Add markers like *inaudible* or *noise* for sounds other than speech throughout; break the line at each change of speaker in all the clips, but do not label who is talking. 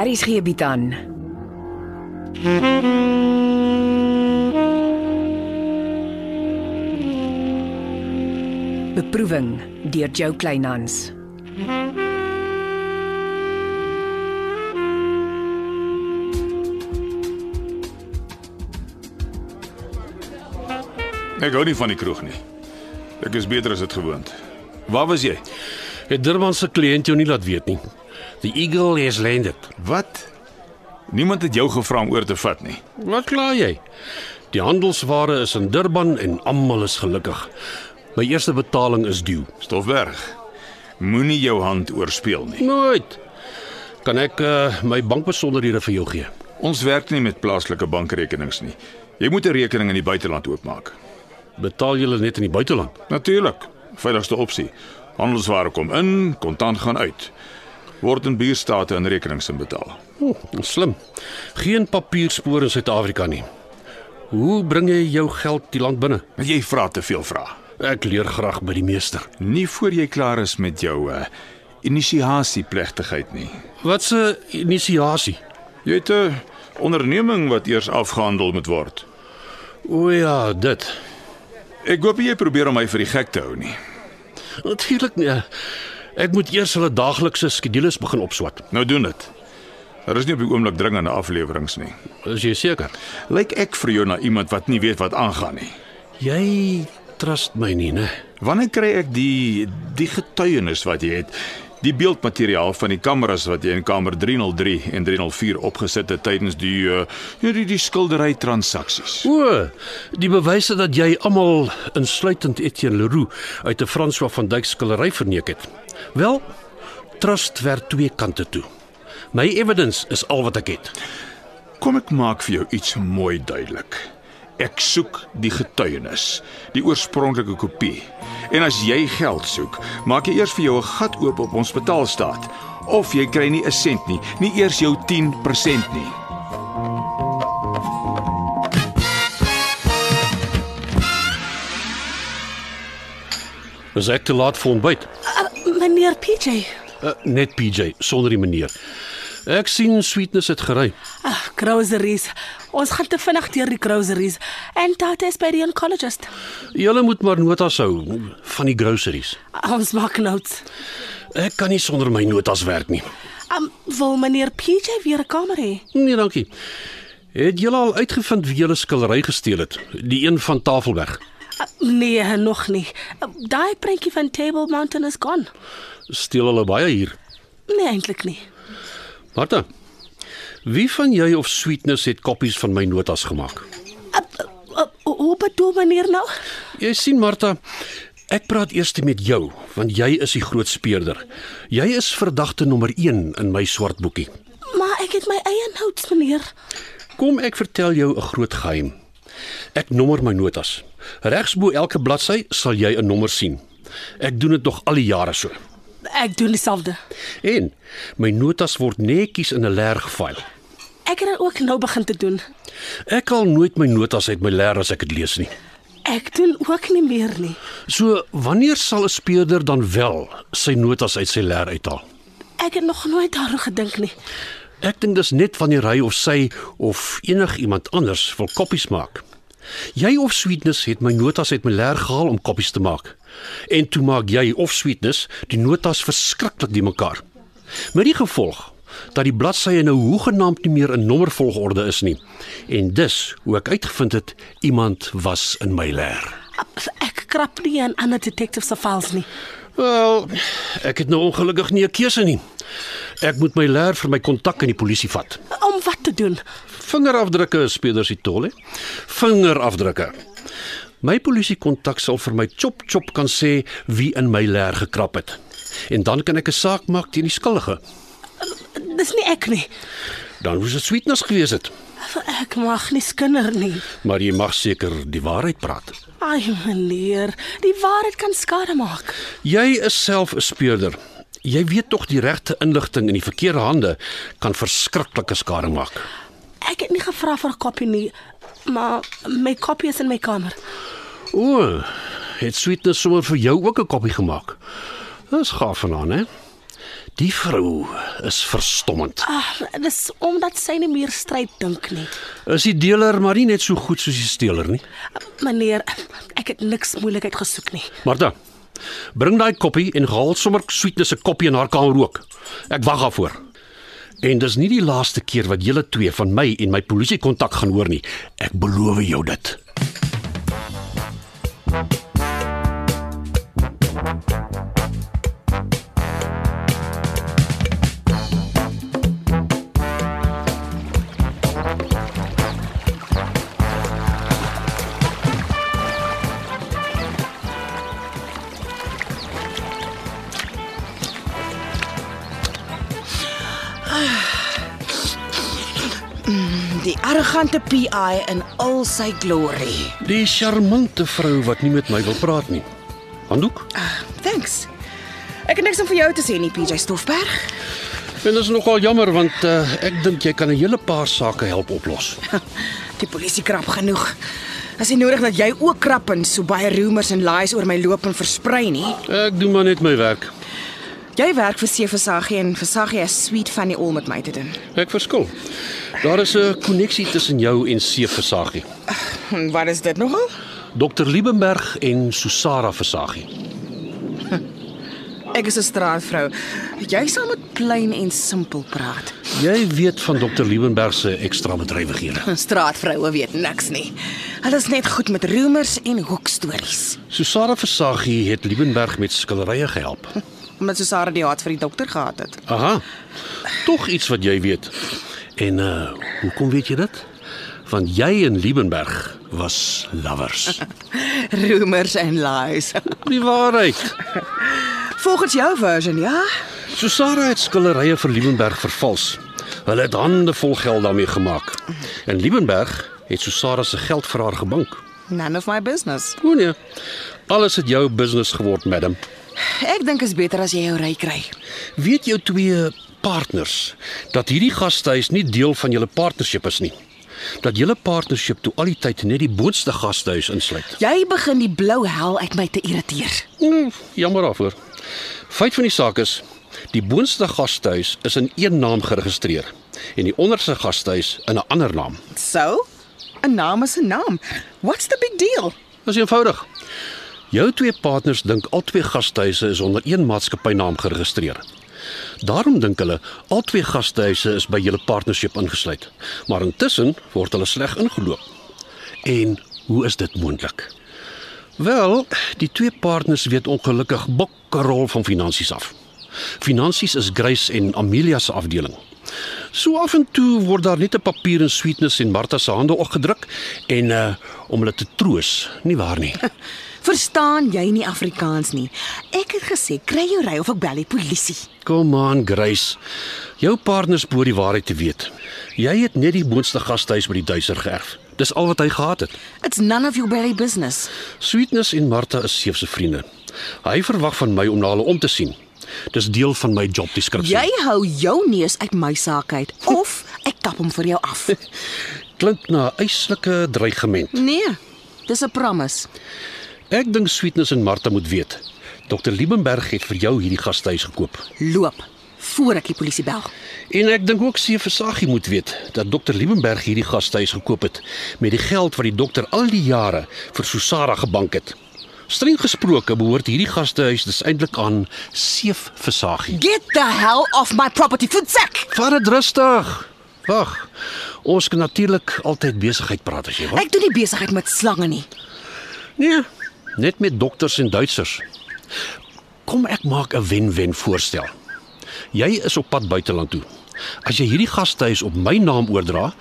Aries gee bied aan. Beproeving deur Jo Kleinhans.
Ek hou nie van die kroeg nie. Ek is beter as dit gewoond. Waar was jy?
Het Durban se kliënt jou nie laat weet nie. The Eagle has landed.
Wat? Niemand het jou gevra om oor te vat nie.
Wat kla jy? Die handelsware is in Durban en almal is gelukkig. My eerste betaling is due.
Stofberg. Moenie jou hand oorspeel nie.
Nooit. Kan ek uh, my bankbesonderhede vir jou gee?
Ons werk nie met plaaslike bankrekenings nie. Jy moet 'n rekening in die buiteland oopmaak.
Betaal julle net in die buiteland?
Natuurlik. Veiligste opsie. Handelsware kom in, kontant gaan uit. Word in buurstate in rekenings inbetaal.
Oh, slim. Geen papierspore in Suid-Afrika nie. Hoe bring jy jou geld die land binne?
Maar jy vra te veel vrae.
Ek leer graag by die meester.
Nie voor jy klaar is met jou uh, inisiasieplegtigheid nie.
Wat se inisiasie?
Jy het 'n onderneming wat eers afgehandel moet word.
O ja, dit.
Ek hoop jy probeer om my vir die gek te hou nie.
Natuurlik nie. Ek moet eers hulle daaglikse skedules begin opswat.
Nou doen dit. Daar is nie op die oomblik dringende afleweringe nie.
Is jy seker?
Lyk ek vir jou na iemand wat nie weet wat aangaan nie.
Jy trust my nie, né?
Wanneer kry ek die die getuienis wat jy het? Die beeldmateriaal van die kameras wat jy in kamer 303 en 304 opgesit het tydens die uh, ja, die, die skildery transaksies.
O, die bewyse dat jy almal insluitend Etienne Leroux uit 'n François van Dyk skildery verneek het. Wel, trust werk twee kante toe. My evidence is al wat ek het.
Kom ek maak vir jou iets mooi duidelik. Ek soek die getuienis, die oorspronklike kopie. En as jy geld soek, maak jy eers vir jou 'n gat oop op ons betaalstaat of jy kry nie 'n sent nie, nie eers jou 10% nie.
Is ek te laat vir ontbyt?
Meneer PJ,
Uh, net PJ sonder die meneer. Ek sien sweetness het gery.
ah, groceries. Ons gaan te vinnig deur die groceries en Tata is by die oncologist.
Julle moet maar notas hou van die groceries.
Ah, Ons maak notes.
Ek kan nie sonder my notas werk nie.
Um, wil meneer PJ weer 'n kamer hê?
Nee, dankie. Het julle al uitgevind wie julle skildery gesteel het? Die een van Tafelberg.
Ah, nee, nog nie. Ah, Daai prentjie van Table Mountain is gone.
Steel hulle baie hier.
Nee, eintlik nie.
Martha. Wie van jy of Sweetness het kopies van my notas gemaak?
Ah, ah, ah, Hoe bedoel meneer nou?
Jy sien Martha, ek praat eers met jou want jy is die groot speurder. Jy is verdagte nommer 1 in my swart boekie.
Maar ek het my eie notes, meneer.
Kom ek vertel jou 'n groot geheim. Ek nommer my notas. Regsbo elke bladsy sal jy 'n nommer sien. Ek doen dit nog al die jare so.
Ek doen dieselfde.
En my notas word netjies in 'n leer gefaal.
Ek het dit ook nou begin te doen.
Ek haal nooit my notas uit my leer as ek dit lees nie.
Ek doen ook nie meer nie.
So wanneer sal 'n speurder dan wel sy notas uit sy leer uithaal?
Ek het nog nooit daaroor gedink nie.
Ek dink dis net wanneer hy of sy of enigiemand anders wil koppies maak. Jy of Sweetness het my notas uit my leer gehaal om koppies te maak. En toe maak jy of Sweetness die notas verskriklik die mekaar. Met die gevolg dat die bladsye nou hoegenaamd nie meer in nommervolgorde is nie. En dus hoe ek uitgevind het iemand was in my leer.
Ek krap nie aan ander detectives se files nie.
Wel, ek het nou ongelukkig nie 'n keuse nie. Ek moet my leer vir my kontak in die polisie vat.
Om wat te doen?
Vingerafdrukke is spelers die tol hè. Vingerafdrukke. My polisie kontak sal vir my chop chop kan sê wie in my leer gekrap het. En dan kan ek 'n saak maak teen die skuldige.
Dis nie ek nie.
Dan moes dit sweetness gewees het.
Ek mag nie skinder nie.
Maar jy mag seker die waarheid praat.
Ai meneer, die waarheid kan skade maak.
Jy is self 'n speurder. Jy weet tog die regte inligting in die verkeerde hande kan verskriklike skade maak.
Ek het nie gevra vir 'n koppie nie, maar my koppie is in my kamer.
O, het Sweetness sommer vir jou ook 'n koppie gemaak. Dis gaaf vanaand, hè? Die vrou is verstommend.
Ah, dis omdat sy nie meer stryd dink nie.
Is die dealer maar nie net so goed soos die steeler nie?
Meneer, ek het niks moeilikheid gesoek nie.
Martha, bring daai koppie en haal sommer sweetness se koppie in haar kamer ook. Ek wag daarvoor. En dis nie die laaste keer wat julle twee van my en my polisie kontak gaan hoor nie. Ek beloof jou dit.
Die arrogante PI in al sy glorie.
Die charmante vrou wat nie met my wil praat nie. Handdoek?
Thanks. Ek het niks om vir jou te sê nie, PJ Stoffberg.
En dit is nogal jammer want uh, ek dink jy kan 'n hele paar sake help oplos.
Die polisie krap genoeg. As jy nodig dat jy ook krap en so baie rumors en lies oor my loop en versprei nie.
Ek doen maar net my werk.
Jy werk vir Seversaggie en Versaggie is sweet van die al met my te doen.
Ek verskil. Daar is 'n koneksie tussen jou en Seef Versaggie.
En Hm, Wat is dit nogal?
Dr Liebenberg en Susara Versaggie.
Ek is 'n straatvrou. Jy sal met plain en simpel praat.
Jy weet van Dr Liebenberg se ekstra bedrywighede.
Straatvroue weet niks nie. Hulle is net goed met roemers en hoekstories.
Susara Versaggie het Liebenberg met skilderye gehelp.
Omdat Susara die haat vir die dokter gehad het.
Aha. Tog iets wat jy weet. En uh hoekom weet jy dit? Want jy en Liebenberg was lovers.
Roemers en lies.
Die waarheid.
Volgens jou version, ja?
Susara het skilderye vir Liebenberg vervals. Hulle het hande vol geld daarmee gemaak. En Liebenberg het Susara se geld vir haar gebank.
None of my business.
O nee. Alles het jou business geword, madam.
Ek dink is beter as jy jou ry kry.
Weet jou twee partners dat hierdie gastehuis nie deel van julle partnership is nie. Dat julle partnership toe al die tyd net die boonste gastehuis insluit.
Jy begin die blou hel uit my te irriteer.
Mm, jammer daarvoor. Feit van die saak is, die boonste gastehuis is in een naam geregistreer en die onderste gastehuis in 'n ander naam.
So? 'n Naam is 'n naam. What's the big deal?
Dis eenvoudig. Jou twee partners dink al twee gastehuise is onder een maatskappynaam geregistreer. Daarom dink hulle al twee gastehuise is by julle partnership ingesluit. Maar intussen word hulle sleg ingeloop. En hoe is dit moontlik? Wel, die twee partners weet ongelukkig bokkerol van finansies af. Finansies is Grace en Amelia se afdeling. So af en toe word daar net 'n papier en sweetness en Martha se hande opgedruk en uh om hulle te troos, nie waar nie.
Verstaan jy nie Afrikaans nie? Ek het gesê kry jou ry of ek bel die polisie.
Kom aan, Grace. Jou partners behoort die waarheid te weet. Jy het net die boonste gastehuis by die duiser geerf. Dis al wat hy gehad het.
It's none of your bloody business.
Sweetness en Martha is seefse vriende. Hy verwag van my om na hulle om te sien. Dis deel van my job description.
Jy hou jou neus uit my saak uit of ek kap hom vir jou af.
klink na 'n yslike dreigement.
*laughs* Nee, dis 'n promise.
Ek dink Sweetness en Martha moet weet. Dr Liebenberg het vir jou hierdie gastehuis gekoop.
Loop voor ek die polisie bel.
En ek dink ook Seef Versaggie moet weet dat Dr Liebenberg hierdie gastehuis gekoop het met die geld wat die dokter al die jare vir Susara gebank het. Streng gesproke behoort hierdie gastehuis dus eintlik aan Seef Versaggie.
Get the hell off my property, voetsak.
Vat dit rustig. Wag. Ons kan natuurlik altyd besigheid praat as jy wil.
Ek doen nie besigheid met slange nie.
Nee, net met dokters en Duitsers. Kom ek maak 'n wen-wen voorstel. Jy is op pad buiteland toe. As jy hierdie gastehuis op my naam oordra,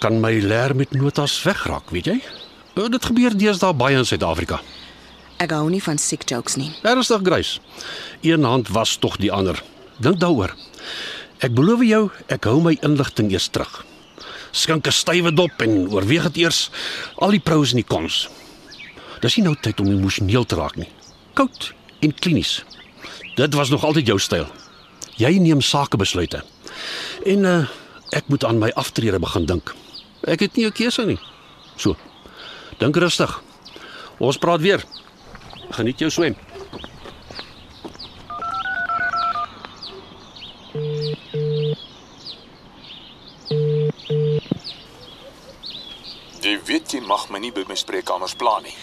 kan my leer met notas wegraak, weet jy? Eh, Dit gebeur deesdae baie in Suid-Afrika.
Ek hou nie van sick jokes nie.
Ernstig, Grace. Een hand was tog die ander. Dink daaroor. Ek beloof jou, ek hou my inligting eers terug. Skink 'n stywe dop en oorweeg dit eers al die pros en die cons. Dis nie nou tyd om emosioneel te raak nie. Koud en klinies. Dit was nog altyd jou styl. Jy neem sakebesluite. En uh, ek moet aan my aftrede begin dink. Ek het nie 'n keuse nie. So. Dink rustig. Ons praat weer. Geniet jou swem.
Jy weet jy mag my nie by my spreekkamers pla nie.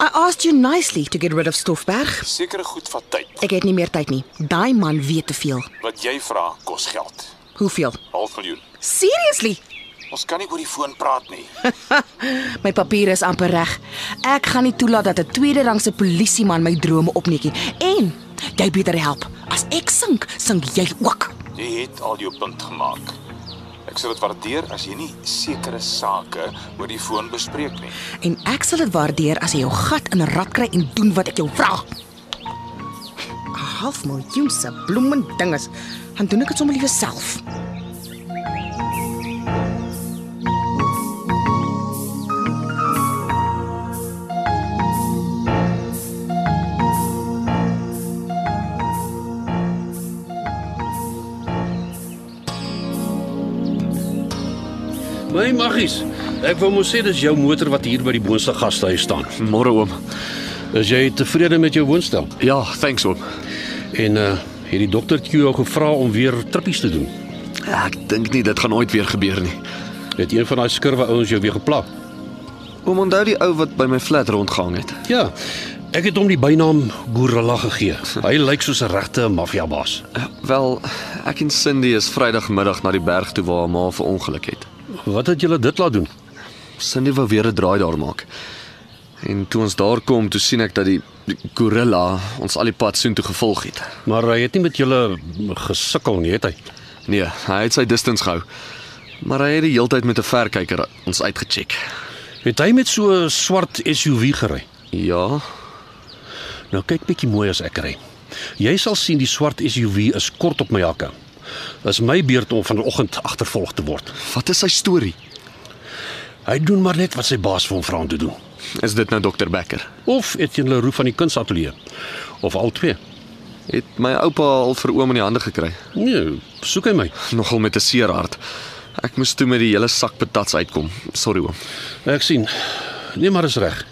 I asked you nicely to get rid of Stoffberg.
Sekere goed vat tyd.
Ek het nie meer tyd nie. Daai man weet te veel.
Wat jy vra kos geld.
Hoeveel?
Half miljoen.
Seriously?
Ons kan nie oor die foon praat nie.
My papiere is amper reg. Ek gaan nie toelaat dat 'n tweede rangse polisieman my drome opneek nie. En jy beter help. As ek sink, sink jy ook.
Jy het al jou punt gemaak. Ek sal dit waardeer as jy nie sekere sake oor die foon bespreek nie.
En ek sal dit waardeer as jy jou gat in 'n rad kry en doen wat ek jou vra. 'n Half miljoen se bloemende dinges. Dan doen ek dit sommer liewer self.
My Nee, maggies, ek wou mos sê dis jou motor wat hier by die Boonste gastehuis staan.
Môre oom.
Is jy tevrede met jou woonstel?
Ja, thanks oom.
En uh het die dokter jou al gevra om weer trippies te doen?
Ja, Ek dink nie dit gaan ooit weer gebeur nie.
Het een van daai skurwe ouens jou weer geplak?
Oom onthou die ou wat by my flat rondgehang het.
Ja. Ek het hom die bynaam Gorilla gegee. Hy lyk soos 'n regte maffiabaas.
Eh, Wel, ek en Cindy is Vrydagmiddag na die berg toe waar haar ma vir ongeluk het.
Wat het julle dit laat doen?
Cindy wou weer 'n draai daar maak. En toe ons daar kom, toe sien ek dat die, die gorilla ons al die pad soontoe gevolg het.
Maar hy het nie met julle gesukkel nie, het hy?
Nee, hy het sy distance gehou. Maar hy het die heeltyd met 'n verkyker ons uitgecheck.
Het hy met so 'n swart SUV gery?
Ja,
Nou kyk bietjie mooi as ek ry. Jy sal sien die swart SUV is kort op my hakke. Is my beurt om vanoggend agtervolg te word.
wat is sy storie?
Hy doen maar net wat sy baas vir hom vra om te doen.
Is dit nou dokter Becker?
Of Etienne Leroux van die kunsatelier. Of al twee.
Het my oupa al vir oom in die hande gekry,
Nee, soek hy my.
nogal met 'n seer hart. Ek moes toe met die hele sak patats uitkom. Sorry oom.
Ek sien. Nee, maar is reg.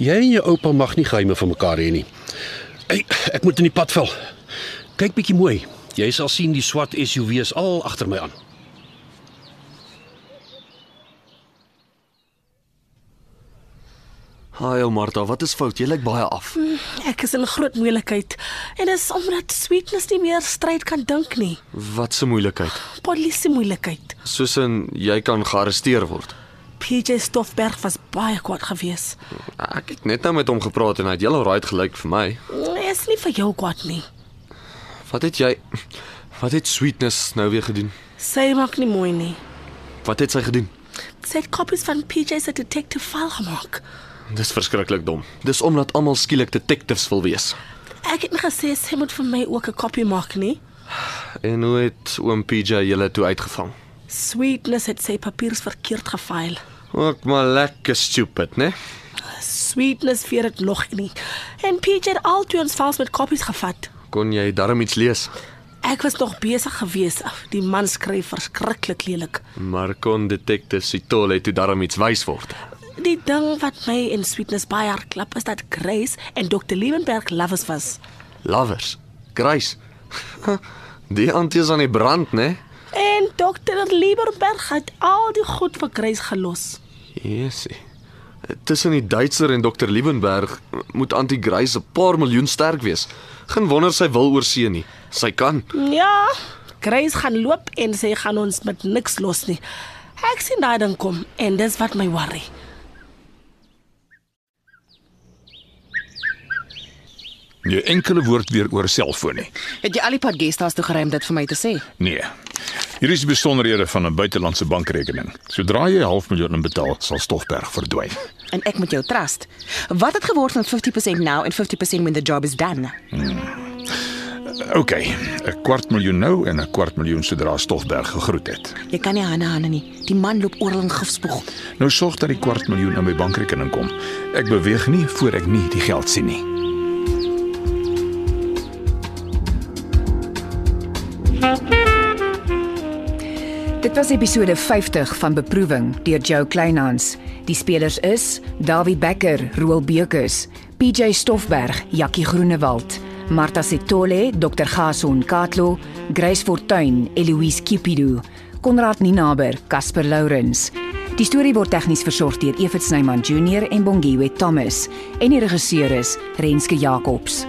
Jy en jou oupa mag nie geheime van mekaar hê nie. Hey, ek moet in die pad val. Kyk bietjie mooi. Jy sal sien die swart SUV is al agter my aan.
Haai ou Martha, wat is fout? Jy lyk baie af.
Ek is in groot moeilikheid en dit is omdat sweetness nie meer stryd kan dink nie.
Wat 'n moeilikheid.
Polisie moeilikheid.
Soos in jy kan gearresteer word.
PJ Stoffberg was baie kwaad geweest.
Ek het net nou met hom gepraat en hy het heeltemal right gelyk vir my.
Hy is nie vir jou kwaad nie.
Wat het jy Wat het Sweetness nou weer gedoen?
Sy maak nie mooi nie.
Wat het sy gedoen?
Sy het kopies van PJ se detective file gemaak.
Dis verskriklik dom. Dis omdat almal skielik detectives wil wees.
Ek het nie gesê sy moet vir my ook 'n kopie maak nie.
En hoe het oom PJ julle toe uitgevang?
Sweetness het sy papiers verkeerd gefile.
Ook maar lekker stupid, né? Nee?
Sweetness vir dit nog nie. En PJ het al twee ons files met kopies gevat.
Kon jy darm iets lees?
Ek was nog besig geweest. Ag, Die man skryf verskriklik lelik.
Maar kon detektief Sitole toe darm iets wys word?
Die ding wat my en Sweetness baie hard klap is dat Grace en Dr. Liebenberg lovers was.
Lovers. Grace. die antie is aan die brand, né? Nee?
En Dr. Liebenberg het al die goed vir Grace gelos.
Jesusie. Tussen die Duitser en dokter Liebenberg moet antie Grace 'n paar miljoen sterk wees. Geen wonder sy wil oorsee nie. Sy kan.
Ja, Grace gaan loop en sy gaan ons met niks los nie. Ek sien daai ding kom en dis wat my worry.
Nie enkele woord weer oor selfoon nie.
Het jy al die pad gestas toe geruim dit vir my te sê?
Nee. Hier is die besonderhede van 'n buitelandse bankrekening. Sodra jy 'n half miljoen in betaal, sal Stoffberg verdwyn.
En ek moet jou trust. Wat het geword van 50% nou en 50% when the job is done?
OK, 'n kwart miljoen nou en 'n kwart miljoen sodra Stoffberg gegroet het.
Jy kan nie hande hande nie. Die man loop oral in gifspoeg.
Nou sorg dat die kwart miljoen in my bankrekening kom. Ek beweeg nie voor ek nie die geld sien nie.
Dit was episode 50 van Beproewing deur Jo Kleinhans. Die spelers is Dawie Becker, Roel Bekus, PJ Stoffberg, Jakkie Groenewald, Martha Setole, Dr. Gason Katlo, Grace Fortuin, Eloise Kipido, Konrad Ninaber, Casper Lourens. Die storie word tegnies versorg deur Evit Snyman Junior en Bongwe Thomas en die regisseur is Renske Jacobs.